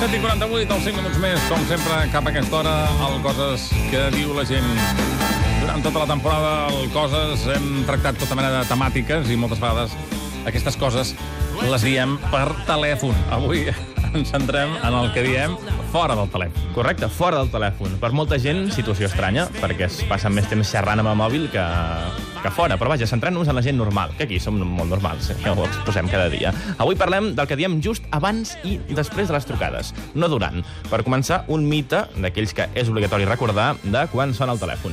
7 i 48, els 5 minuts més, com sempre, cap a aquesta hora, el Coses que diu la gent. Durant tota la temporada, el Coses, hem tractat tota mena de temàtiques i moltes vegades aquestes coses les diem per telèfon. Avui ens centrem en el que diem fora del telèfon. Correcte, fora del telèfon. Per molta gent, situació estranya, perquè es passen més temps xerrant amb el mòbil que, Ah, que fora. Però vaja, centrant-nos en la gent normal, que aquí som molt normals, eh? ja ho exposem cada dia. Avui parlem del que diem just abans i després de les trucades, no durant. Per començar, un mite d'aquells que és obligatori recordar de quan sona el telèfon.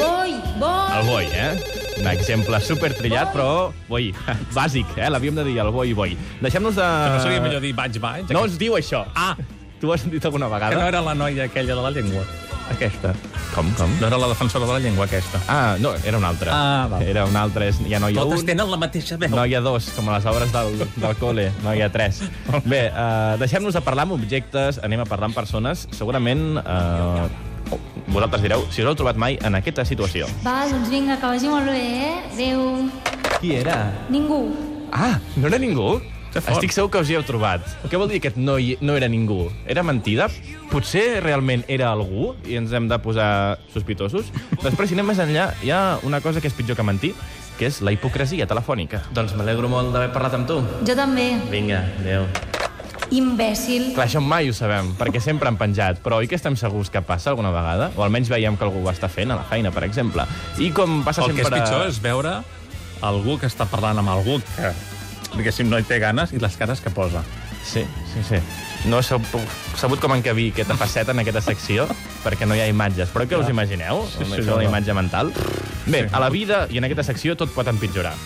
Voy, voy. El boi, eh? Un exemple super trillat, però boi, bàsic, eh? L'havíem de dir, el boi, boi. Deixem-nos de... No seria millor dir vaig, vaig? No es diu això. Ah, Tu ho has sentit alguna que vegada? no era la noia aquella de la llengua. Aquesta. Com, com? No era la defensora de la llengua, aquesta. Ah, no, era una altra. Ah, val. Era una altra, és, ja no hi ha Totes un, tenen la mateixa veu. no hi ha dos, com a les obres del, del col·le, no hi ha tres. Bé, uh, deixem-nos de parlar amb objectes, anem a parlar amb persones. Segurament, uh, vosaltres direu, si us heu trobat mai en aquesta situació. Va, doncs vinga, que vagi molt bé, eh? Adéu. Qui era? Ningú. Ah, no era ningú? Que fort. Estic segur que us hi heu trobat. Què vol dir aquest no, hi, no era ningú? Era mentida? Potser realment era algú i ens hem de posar sospitosos? Després, si anem més enllà, hi ha una cosa que és pitjor que mentir, que és la hipocresia telefònica. Doncs m'alegro molt d'haver parlat amb tu. Jo també. Vinga, adeu. Imbècil. Clar, això mai ho sabem, perquè sempre han penjat, però oi que estem segurs que passa alguna vegada? O almenys veiem que algú ho està fent a la feina, per exemple. I com passa El que sempre... és pitjor és veure algú que està parlant amb algú que, diguéssim, no hi té ganes i les cares que posa. Sí, sí, sí. No he sab- sabut com encabir aquesta faceta en aquesta secció, perquè no hi ha imatges. Però què us imagineu? Sí, sí, Això no, de no. la imatge mental? Bé, a la vida i en aquesta secció tot pot empitjorar.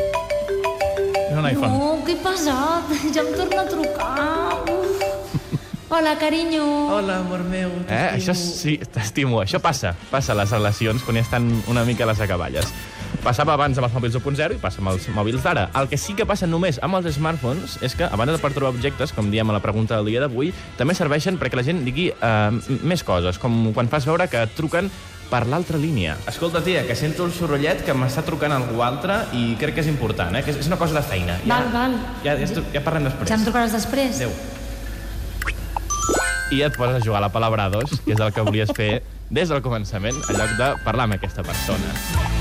És un iPhone. No, que pesat. Ja em torna a trucar. Uf. Hola, carinyo. Hola, amor meu. Eh? Això sí, t'estimo. Això passa. Passa a les relacions quan ja estan una mica a les acaballes. Passava abans amb els mòbils 1.0 i passa amb els mòbils d'ara. El que sí que passa només amb els smartphones és que, a banda de per trobar objectes, com diem a la pregunta del dia d'avui, també serveixen perquè la gent digui eh, m- més coses, com quan fas veure que et truquen per l'altra línia. Escolta, tia, que sento un sorollet que m'està trucant algú altre i crec que és important, eh? Que és- és una cosa de feina. Val, val. Ja, ja, estu- ja parlem després. Ja em trucaràs després? Adéu. i et poses a jugar a la palabra a dos, que és el que volies fer des del començament, en lloc de parlar amb aquesta persona.